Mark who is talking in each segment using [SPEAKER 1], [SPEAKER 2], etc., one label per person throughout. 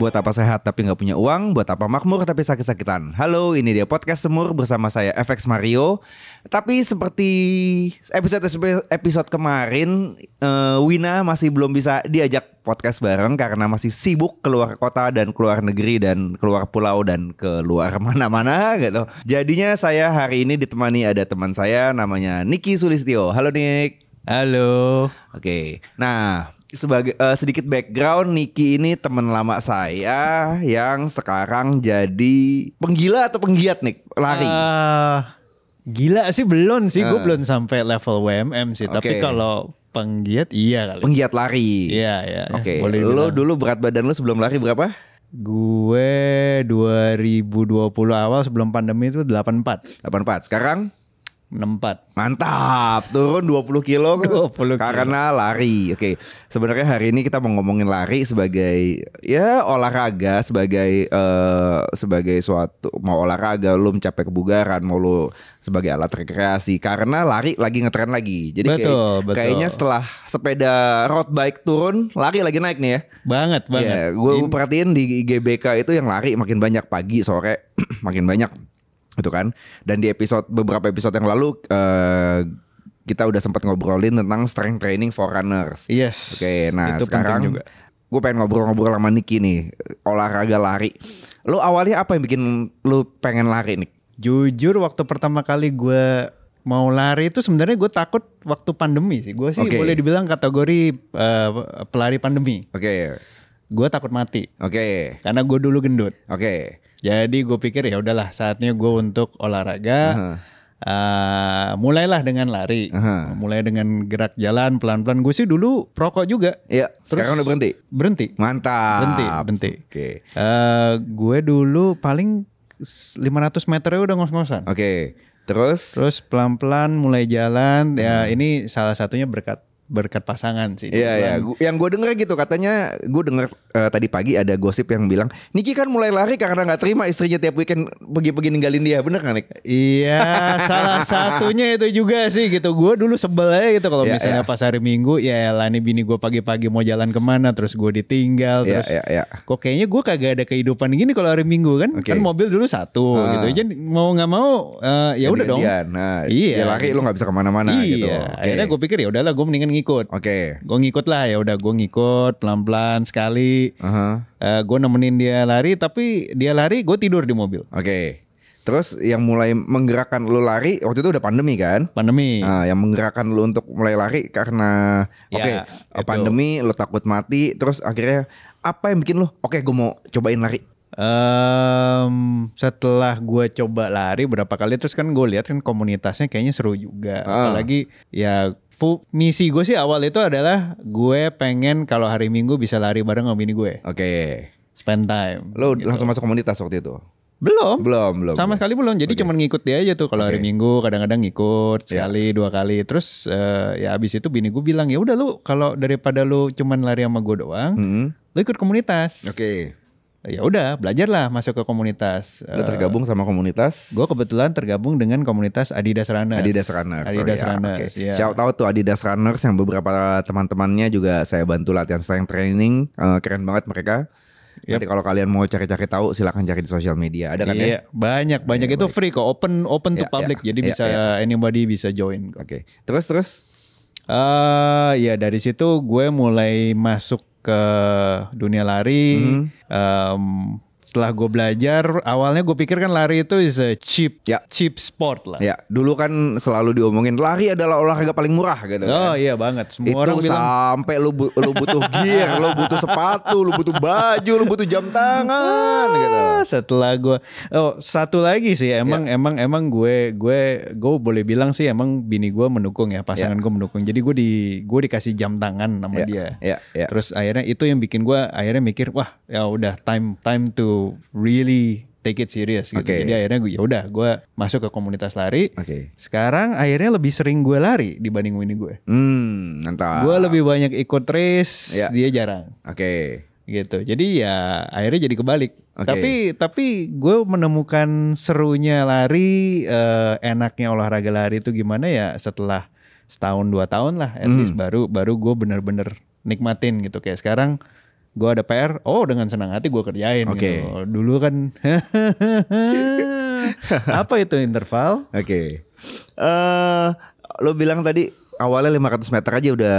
[SPEAKER 1] Buat apa sehat tapi nggak punya uang, buat apa makmur tapi sakit-sakitan. Halo, ini dia podcast Semur bersama saya FX Mario. Tapi seperti episode episode kemarin, eh, Wina masih belum bisa diajak podcast bareng karena masih sibuk keluar kota dan keluar negeri dan keluar pulau dan keluar mana-mana gitu. Jadinya saya hari ini ditemani ada teman saya namanya Niki Sulistio. Halo Nick.
[SPEAKER 2] Halo.
[SPEAKER 1] Oke, nah sebagai eh, sedikit background Niki ini teman lama saya yang sekarang jadi penggila atau penggiat nih lari.
[SPEAKER 2] Ah, gila sih belum sih, gue belum sampai level WMM sih.
[SPEAKER 1] Eh.
[SPEAKER 2] Tapi
[SPEAKER 1] Oke.
[SPEAKER 2] kalau penggiat iya kali.
[SPEAKER 1] penggiat lari.
[SPEAKER 2] Iya iya. iya.
[SPEAKER 1] Oke,
[SPEAKER 2] Boleh
[SPEAKER 1] lo
[SPEAKER 2] dibilang.
[SPEAKER 1] dulu berat badan lo sebelum lari berapa?
[SPEAKER 2] Gue 2020 awal sebelum pandemi itu 84,
[SPEAKER 1] 84. Sekarang
[SPEAKER 2] 64.
[SPEAKER 1] Mantap, turun 20 kilo
[SPEAKER 2] 20 kilo.
[SPEAKER 1] karena lari. Oke, sebenarnya hari ini kita mau ngomongin lari sebagai ya olahraga sebagai eh, sebagai suatu mau olahraga lu mencapai kebugaran, mau lu sebagai alat rekreasi karena lari lagi ngetren lagi. Jadi kayak-
[SPEAKER 2] Betul, betul.
[SPEAKER 1] kayaknya setelah sepeda road bike turun, lari lagi naik nih ya.
[SPEAKER 2] Banget
[SPEAKER 1] Iya,
[SPEAKER 2] banget.
[SPEAKER 1] gue perhatiin di GBK itu yang lari makin banyak pagi sore makin banyak itu kan. Dan di episode beberapa episode yang lalu eh, kita udah sempat ngobrolin tentang strength training for runners.
[SPEAKER 2] Yes.
[SPEAKER 1] Oke, nah
[SPEAKER 2] Iya. itu penting
[SPEAKER 1] sekarang
[SPEAKER 2] juga.
[SPEAKER 1] gue pengen ngobrol-ngobrol sama Niki nih olahraga lari. Lo awalnya apa yang bikin lo pengen lari nih?
[SPEAKER 2] Jujur waktu pertama kali gue mau lari itu sebenarnya gue takut waktu pandemi sih. Gue sih
[SPEAKER 1] Oke.
[SPEAKER 2] boleh dibilang kategori eh, pelari pandemi.
[SPEAKER 1] Oke,
[SPEAKER 2] Gue takut mati
[SPEAKER 1] oke,
[SPEAKER 2] karena gue dulu gendut.
[SPEAKER 1] oke.
[SPEAKER 2] Jadi gue pikir ya udahlah saatnya gue untuk olahraga. Eh, mulailah dengan lari,
[SPEAKER 1] Aha.
[SPEAKER 2] mulai dengan gerak jalan pelan-pelan. Gue sih dulu perokok juga
[SPEAKER 1] Iya, sekarang udah berhenti.
[SPEAKER 2] berhenti,
[SPEAKER 1] Mantap.
[SPEAKER 2] berhenti, berhenti.
[SPEAKER 1] Oke,
[SPEAKER 2] Eh, gue dulu paling 500 meternya udah ngos-ngosan.
[SPEAKER 1] oke. Terus?
[SPEAKER 2] Terus pelan-pelan mulai jalan. Ya ini salah satunya berkat berkat pasangan sih.
[SPEAKER 1] Iya ya,
[SPEAKER 2] Kebetulan-
[SPEAKER 1] Gu- yang gue denger gitu katanya gue denger eh, tadi pagi ada gosip yang bilang Niki kan mulai lari karena nggak terima istrinya tiap weekend pergi-pergi ninggalin dia, bener kan Nik?
[SPEAKER 2] Iya, salah satunya itu juga sih gitu. Gue dulu sebel aja gitu kalau
[SPEAKER 1] Iya,
[SPEAKER 2] misalnya
[SPEAKER 1] iya.
[SPEAKER 2] pas hari Minggu, ya lah ini bini gue pagi-pagi mau jalan kemana, terus gue
[SPEAKER 1] Iya
[SPEAKER 2] ditinggal, terus
[SPEAKER 1] iya iya.
[SPEAKER 2] kok kayaknya gue kagak ada kehidupan gini kalau hari Minggu kan,
[SPEAKER 1] Oke.
[SPEAKER 2] kan mobil dulu satu
[SPEAKER 1] Ah.
[SPEAKER 2] gitu, jadi mau nggak mau eh, ya udah dong.
[SPEAKER 1] Ganti-gantian. Nah,
[SPEAKER 2] Iya.
[SPEAKER 1] dia lari lu nggak bisa kemana-mana
[SPEAKER 2] iya,
[SPEAKER 1] gitu.
[SPEAKER 2] akhirnya gue pikir ya udahlah gue mendingan ngikut.
[SPEAKER 1] Oke.
[SPEAKER 2] Gue ngikut lah ya udah gue ngikut pelan-pelan sekali.
[SPEAKER 1] Aha.
[SPEAKER 2] gue nemenin dia lari, tapi dia lari gue tidur di mobil.
[SPEAKER 1] Oke. Terus yang mulai menggerakkan lu lari waktu itu udah pandemi kan?
[SPEAKER 2] Pandemi.
[SPEAKER 1] Nah, yang menggerakkan lu untuk mulai lari karena oke
[SPEAKER 2] Ya, itu.
[SPEAKER 1] pandemi lu takut mati terus akhirnya apa yang bikin lu oke gue mau cobain lari
[SPEAKER 2] Em, setelah gue coba lari berapa kali terus kan gue lihat kan komunitasnya kayaknya seru juga
[SPEAKER 1] Ah.
[SPEAKER 2] apalagi ya fu- misi gue sih awal itu adalah gue pengen kalau hari minggu bisa lari bareng sama bini gue
[SPEAKER 1] oke
[SPEAKER 2] spend time
[SPEAKER 1] Lo langsung masuk komunitas waktu itu?
[SPEAKER 2] belum
[SPEAKER 1] Belum, belum.
[SPEAKER 2] sama
[SPEAKER 1] belum.
[SPEAKER 2] sekali belum jadi cuman ngikut dia aja tuh kalau hari
[SPEAKER 1] Oke. Iya.
[SPEAKER 2] minggu kadang-kadang ngikut sekali dua kali terus eh, ya abis itu bini gue bilang ya udah lu kalau daripada lu cuman lari sama gue doang
[SPEAKER 1] Hmm.
[SPEAKER 2] lu ikut komunitas
[SPEAKER 1] Oke.
[SPEAKER 2] ya udah belajarlah masuk ke komunitas
[SPEAKER 1] Lo
[SPEAKER 2] Eh,
[SPEAKER 1] tergabung sama komunitas
[SPEAKER 2] Gue kebetulan tergabung dengan komunitas Adidas Runner.
[SPEAKER 1] Adidas Runners. sorry
[SPEAKER 2] Adidas
[SPEAKER 1] ya.
[SPEAKER 2] Runners,
[SPEAKER 1] Oke.
[SPEAKER 2] iya.
[SPEAKER 1] Shout out tuh Adidas Runners yang beberapa teman-temannya juga saya bantu latihan strength training. Eh, keren banget mereka. Nanti kalau kalian mau cari-cari tahu silahkan cari di sosial media. Ada kan ya?
[SPEAKER 2] Iya, banyak banyak itu free kok, open open to
[SPEAKER 1] Iya,
[SPEAKER 2] public.
[SPEAKER 1] iya,
[SPEAKER 2] jadi
[SPEAKER 1] iya,
[SPEAKER 2] bisa anybody bisa join kok.
[SPEAKER 1] Oke. Terus terus.
[SPEAKER 2] Eh, ya dari situ gue mulai masuk ke dunia lari.
[SPEAKER 1] Mhm.
[SPEAKER 2] Em, setelah gue belajar, awalnya gue pikir kan lari itu is a cheap
[SPEAKER 1] Ya.
[SPEAKER 2] cheap sport lah.
[SPEAKER 1] Ya, dulu kan selalu diomongin lari adalah olahraga paling murah gitu kan.
[SPEAKER 2] Oh iya banget. Semua
[SPEAKER 1] itu
[SPEAKER 2] orang bilang
[SPEAKER 1] sampai lu bu- lu butuh gear, lu butuh sepatu, lu butuh baju, lu butuh jam tangan gitu. Ya.
[SPEAKER 2] Ah, setelah gue oh satu lagi sih emang emang emang gue gue gue boleh bilang sih emang bini gue mendukung ya pasangan gue mendukung jadi gue di gue dikasih jam tangan sama
[SPEAKER 1] Ya,
[SPEAKER 2] dia
[SPEAKER 1] ya, ya.
[SPEAKER 2] terus akhirnya itu yang bikin gue akhirnya mikir wah ya udah time time to really take it serious gitu.
[SPEAKER 1] Oke.
[SPEAKER 2] Jadi akhirnya gue ya udah gue masuk ke komunitas lari.
[SPEAKER 1] Oke.
[SPEAKER 2] Sekarang akhirnya lebih sering gue lari dibanding Winnie gue.
[SPEAKER 1] Hmm, mantap.
[SPEAKER 2] Gue lebih banyak ikut race,
[SPEAKER 1] Iya.
[SPEAKER 2] dia jarang
[SPEAKER 1] Oke.
[SPEAKER 2] gitu. Jadi ya akhirnya jadi kebalik.
[SPEAKER 1] Oke.
[SPEAKER 2] Tapi tapi gue menemukan serunya lari, eh, enaknya olahraga lari itu gimana ya setelah setahun dua tahun lah,
[SPEAKER 1] Hmm.
[SPEAKER 2] at least baru baru gue bener-bener nikmatin gitu kayak sekarang gue ada PR, oh dengan senang hati gue kerjain.
[SPEAKER 1] Oke.
[SPEAKER 2] Gitu. Dulu kan apa itu interval?
[SPEAKER 1] Oke. Eh lo bilang tadi awalnya 500 meter aja udah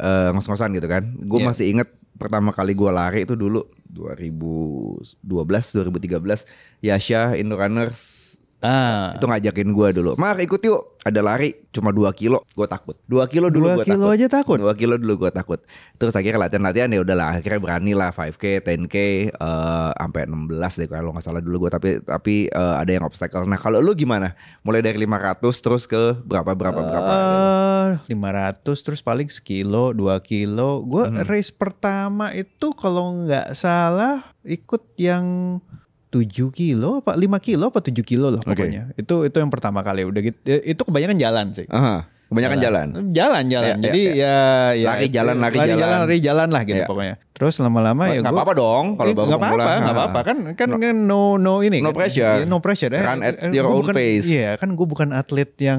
[SPEAKER 1] eh, ngos-ngosan gitu kan. Gue
[SPEAKER 2] Iya.
[SPEAKER 1] masih inget pertama kali gue lari itu dulu 2012 2013 Yasha Indo Runners
[SPEAKER 2] Ah,
[SPEAKER 1] itu ngajakin gue dulu. Mar ikut yuk, ada lari cuma 2 kilo. Gue takut. 2 kilo dulu
[SPEAKER 2] Dua
[SPEAKER 1] gue
[SPEAKER 2] kilo
[SPEAKER 1] takut.
[SPEAKER 2] aja takut?
[SPEAKER 1] 2 kilo dulu gue takut. Terus akhirnya latihan-latihan ya udahlah akhirnya berani lah 5K, 10K eh sampai 16 deh kalau nggak salah dulu gue tapi tapi eh, ada yang obstacle. Nah, kalau lu gimana? Mulai dari 500 terus ke berapa berapa berapa?
[SPEAKER 2] Eh. lima ratus terus paling sekilo dua kilo gue
[SPEAKER 1] Hmm.
[SPEAKER 2] race pertama itu kalau nggak salah ikut yang 7 kilo apa 5 kilo apa 7 kilo loh
[SPEAKER 1] Oke.
[SPEAKER 2] pokoknya itu itu yang pertama kali udah gitu eh, itu kebanyakan jalan sih Eh,
[SPEAKER 1] Aha, Ah, kebanyakan jalan.
[SPEAKER 2] jalan jalan
[SPEAKER 1] Ya,
[SPEAKER 2] jadi
[SPEAKER 1] ya,
[SPEAKER 2] ya, ya
[SPEAKER 1] Lari jalan, lari jalan.
[SPEAKER 2] lari jalan lah gitu
[SPEAKER 1] Ya.
[SPEAKER 2] pemanya terus lama-lama
[SPEAKER 1] Nggak
[SPEAKER 2] ya gua-
[SPEAKER 1] apa-apa dong kalau
[SPEAKER 2] Eh,
[SPEAKER 1] baru
[SPEAKER 2] nggak
[SPEAKER 1] pemula.
[SPEAKER 2] apa-apa nggak
[SPEAKER 1] Ha.
[SPEAKER 2] apa-apa kan kan kan no no ini
[SPEAKER 1] No
[SPEAKER 2] kan.
[SPEAKER 1] pressure.
[SPEAKER 2] Iya, no pressure eh.
[SPEAKER 1] Run at
[SPEAKER 2] Eh,
[SPEAKER 1] your
[SPEAKER 2] gua
[SPEAKER 1] own
[SPEAKER 2] bukan-
[SPEAKER 1] pace.
[SPEAKER 2] iya kan gue bukan atlet yang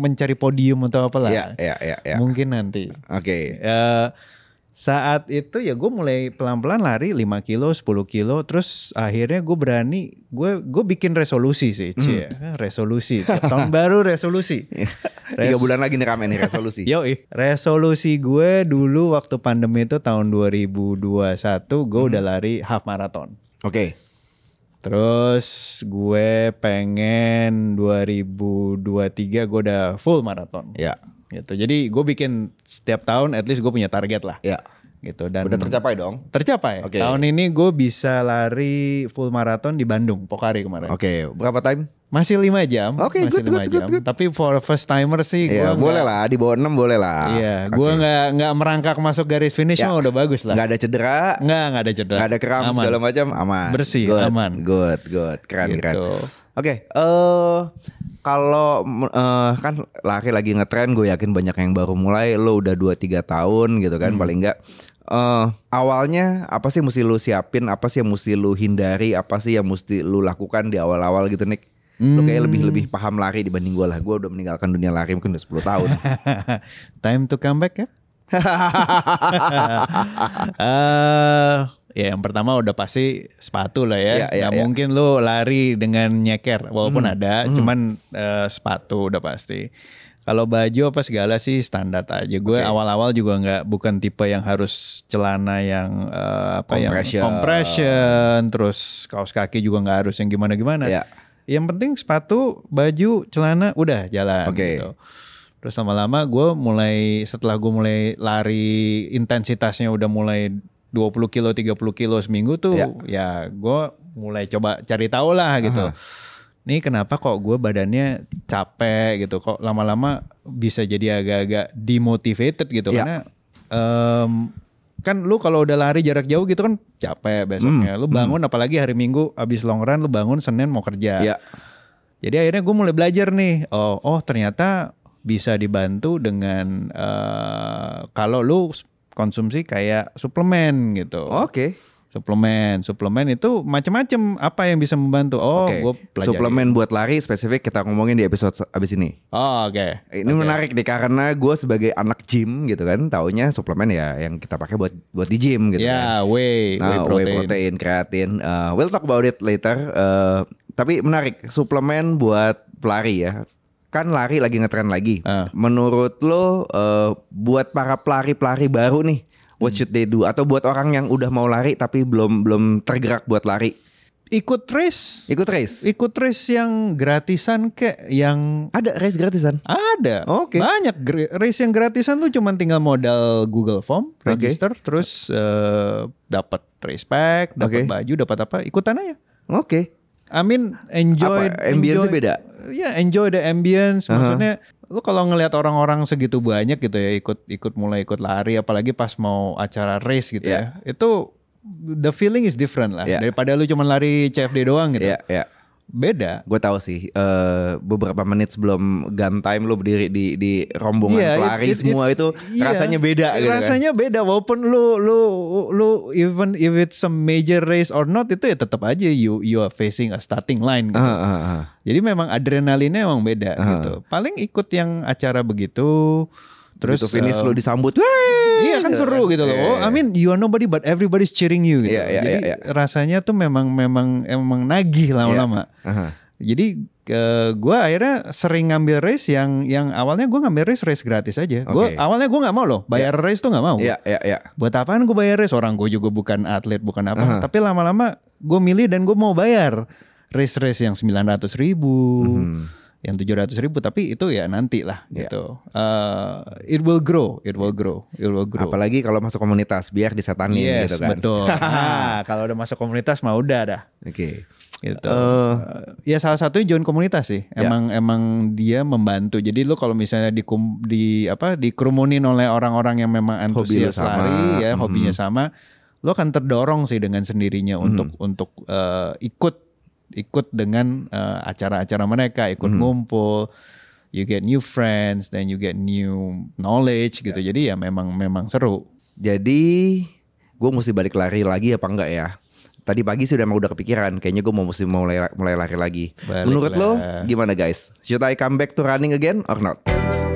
[SPEAKER 2] mencari podium atau apalah
[SPEAKER 1] Ya, ya, ya, ya.
[SPEAKER 2] mungkin nanti
[SPEAKER 1] Oke.
[SPEAKER 2] Eh, saat itu ya gue mulai pelan-pelan lari 5 kilo 10 kilo terus akhirnya gue berani gue gue bikin resolusi sih
[SPEAKER 1] Hmm.
[SPEAKER 2] Cie. resolusi Tiap tahun baru resolusi
[SPEAKER 1] Iya, Tiga bulan lagi nih ramen nih resolusi.
[SPEAKER 2] Yo, resolusi gue dulu waktu pandemi itu tahun 2021 gue
[SPEAKER 1] Hmm.
[SPEAKER 2] udah lari half marathon.
[SPEAKER 1] Oke.
[SPEAKER 2] Terus gue pengen 2023 gue udah full marathon.
[SPEAKER 1] Ya,
[SPEAKER 2] Gitu. Jadi gue bikin setiap tahun at least gue punya target lah.
[SPEAKER 1] ya.
[SPEAKER 2] Gitu dan
[SPEAKER 1] Udah tercapai dong.
[SPEAKER 2] tercapai.
[SPEAKER 1] Oke.
[SPEAKER 2] Tahun ini gue bisa lari full marathon di Bandung, Pokari kemarin.
[SPEAKER 1] Oke, berapa time?
[SPEAKER 2] Masih 5 jam,
[SPEAKER 1] Oke, good,
[SPEAKER 2] masih
[SPEAKER 1] good,
[SPEAKER 2] lima
[SPEAKER 1] good, good.
[SPEAKER 2] Tapi for first timer sih gue
[SPEAKER 1] Iya, boleh lah di bawah 6 boleh lah.
[SPEAKER 2] Iya,
[SPEAKER 1] Oke.
[SPEAKER 2] gua nggak nggak merangkak masuk garis finish
[SPEAKER 1] Ya.
[SPEAKER 2] mah udah bagus lah.
[SPEAKER 1] nggak ada cedera,
[SPEAKER 2] Nggak nggak ada cedera.
[SPEAKER 1] nggak ada kram
[SPEAKER 2] Aman.
[SPEAKER 1] segala macam, kan, aman.
[SPEAKER 2] Bersih,
[SPEAKER 1] Good,
[SPEAKER 2] aman.
[SPEAKER 1] Good, good, keren,
[SPEAKER 2] Gitu.
[SPEAKER 1] keren. Oke, eh kalau mm, eh, kan laki lagi ngetren, gue yakin banyak yang baru mulai. Lo udah 2-3 tahun gitu kan,
[SPEAKER 2] Hmm.
[SPEAKER 1] paling nggak. eh awalnya apa sih yang mesti lu siapin, apa sih yang mesti lu hindari, apa sih yang mesti lu lakukan di awal-awal gitu Nick? Lo kayak lebih
[SPEAKER 2] Hmm.
[SPEAKER 1] lebih paham lari dibanding gue lah. Gue udah meninggalkan dunia lari mungkin udah 10 tahun.
[SPEAKER 2] Time to come back ya. Eh, ya yang pertama udah pasti sepatu lah ya. Hmm.
[SPEAKER 1] Iya, iya,
[SPEAKER 2] Nggak
[SPEAKER 1] iya.
[SPEAKER 2] mungkin lo lari dengan nyeker walaupun ada, cuman eh, sepatu udah pasti. Kalau baju apa segala sih standar aja. Gue awal-awal juga nggak bukan tipe yang harus celana yang eh, apa
[SPEAKER 1] Compression.
[SPEAKER 2] yang compression, terus kaos kaki juga nggak harus yang gimana-gimana.
[SPEAKER 1] Iya.
[SPEAKER 2] Yang penting sepatu, baju, celana udah jalan
[SPEAKER 1] Oke.
[SPEAKER 2] gitu. Terus lama-lama gue mulai setelah gue mulai lari intensitasnya udah mulai 20 kilo 30 kilo seminggu tuh ya gue mulai coba cari tahu lah gitu. Nih kenapa kok gue badannya capek gitu kok lama-lama bisa jadi agak-agak demotivated gitu
[SPEAKER 1] Ya.
[SPEAKER 2] karena em, kan lu kalau udah lari jarak jauh gitu kan capek besoknya. Lu bangun apalagi hari Minggu abis long run lu bangun Senin mau kerja.
[SPEAKER 1] Iya.
[SPEAKER 2] Jadi akhirnya gue mulai belajar nih. Oh, oh ternyata bisa dibantu dengan eh, kalau lu konsumsi kayak suplemen gitu.
[SPEAKER 1] Oke.
[SPEAKER 2] Suplemen, suplemen itu macam-macam apa yang bisa membantu. Oh,
[SPEAKER 1] Oke.
[SPEAKER 2] gue pelajari.
[SPEAKER 1] Suplemen buat lari spesifik kita ngomongin di episode se- abis ini.
[SPEAKER 2] Oh, oke.
[SPEAKER 1] Ini menarik deh karena gue sebagai anak gym gitu kan, taunya suplemen ya yang kita pakai buat buat di gym gitu kan.
[SPEAKER 2] Ya, whey, whey
[SPEAKER 1] Nah,
[SPEAKER 2] protein.
[SPEAKER 1] whey protein, kreatin. Uh, we'll talk about it later. Uh, tapi menarik, suplemen buat pelari ya. Kan lari lagi ngetren lagi.
[SPEAKER 2] Ah.
[SPEAKER 1] Menurut lo uh, buat para pelari-pelari baru nih, what
[SPEAKER 2] Hmm.
[SPEAKER 1] should they do? Atau buat orang yang udah mau lari tapi belum belum tergerak buat lari,
[SPEAKER 2] Ikut race,
[SPEAKER 1] ikut race.
[SPEAKER 2] ikut race yang gratisan kek yang
[SPEAKER 1] Ada race gratisan.
[SPEAKER 2] ada.
[SPEAKER 1] Oke.
[SPEAKER 2] Banyak gr- race yang gratisan lu cuman tinggal modal Google Form,
[SPEAKER 1] Oke.
[SPEAKER 2] register, terus eh, dapat race pack,
[SPEAKER 1] Oke.
[SPEAKER 2] dapat baju, dapat apa, ikutan aja.
[SPEAKER 1] Oke.
[SPEAKER 2] I mean enjoy
[SPEAKER 1] Apa, ambience-nya
[SPEAKER 2] enjoy-
[SPEAKER 1] beda? Uh-huh.
[SPEAKER 2] Ya, enjoy the ambience. Maksudnya lu kalau ngelihat orang-orang segitu banyak gitu ya ikut ikut mulai ikut lari apalagi pas mau acara race gitu ya. Itu the feeling is different lah
[SPEAKER 1] Iya.
[SPEAKER 2] daripada lu cuma lari CFD doang gitu.
[SPEAKER 1] Iya, iya.
[SPEAKER 2] Beda.
[SPEAKER 1] Gue tahu sih eh, beberapa menit sebelum gun time lo berdiri di di rombongan
[SPEAKER 2] Iya, it-
[SPEAKER 1] pelari
[SPEAKER 2] it- it-
[SPEAKER 1] semua itu
[SPEAKER 2] iya.
[SPEAKER 1] rasanya beda gitu kan.
[SPEAKER 2] rasanya beda walaupun lu lu lu even if it's a major race or not itu ya tetap aja you you are facing a starting line gitu.
[SPEAKER 1] Ah, ah, ah.
[SPEAKER 2] Jadi memang adrenalinnya emang beda gitu. Paling ikut yang acara begitu terus
[SPEAKER 1] Begitu finish
[SPEAKER 2] eh,
[SPEAKER 1] lo disambut. "Wey!"
[SPEAKER 2] Iya kan seru gitu loh.
[SPEAKER 1] Iya, iya,
[SPEAKER 2] I mean you are nobody but everybody's cheering you gitu.
[SPEAKER 1] Iya, iya,
[SPEAKER 2] Jadi
[SPEAKER 1] iya,
[SPEAKER 2] rasanya tuh memang memang emang nagih lama-lama.
[SPEAKER 1] Aha.
[SPEAKER 2] Jadi eh, gua akhirnya sering ngambil race yang yang awalnya gua ngambil race race gratis aja. Gua
[SPEAKER 1] Oke.
[SPEAKER 2] awalnya gua nggak mau loh bayar race tuh nggak mau.
[SPEAKER 1] Iya, iya, iya.
[SPEAKER 2] Buat apaan gue bayar race? Orang gue juga bukan atlet, bukan apa. Tapi lama-lama gue milih dan gue mau bayar race-race yang 900 ribu,
[SPEAKER 1] Mhm.
[SPEAKER 2] yang 700 ribu. Tapi itu ya nanti lah
[SPEAKER 1] Iya.
[SPEAKER 2] gitu. Eh, it will grow, it will grow, it will grow.
[SPEAKER 1] Apalagi kalau masuk komunitas biar disetanin
[SPEAKER 2] yes,
[SPEAKER 1] gitu kan.
[SPEAKER 2] betul. Nah, kalau udah masuk komunitas mah udah dah.
[SPEAKER 1] Oke.
[SPEAKER 2] Gitu. Ya. Eh, ya salah satunya join komunitas sih. Emang emang dia membantu. Jadi lu kalau misalnya di di apa dikerumunin oleh orang-orang yang memang
[SPEAKER 1] Hobi lu
[SPEAKER 2] antusias
[SPEAKER 1] sama.
[SPEAKER 2] lari ya, hobinya sama, lu akan terdorong sih dengan sendirinya untuk untuk eh, ikut ikut dengan eh, acara-acara mereka, ikut ngumpul. You get new friends, then you get new knowledge gitu. Jadi ya memang memang seru.
[SPEAKER 1] Jadi gue mesti balik lari lagi apa enggak ya? Tadi pagi sih udah emang udah kepikiran, kayaknya gue mau mesti mulai mulai lari lagi.
[SPEAKER 2] Baliklah.
[SPEAKER 1] Menurut lo gimana guys? Should I come back to running again or not?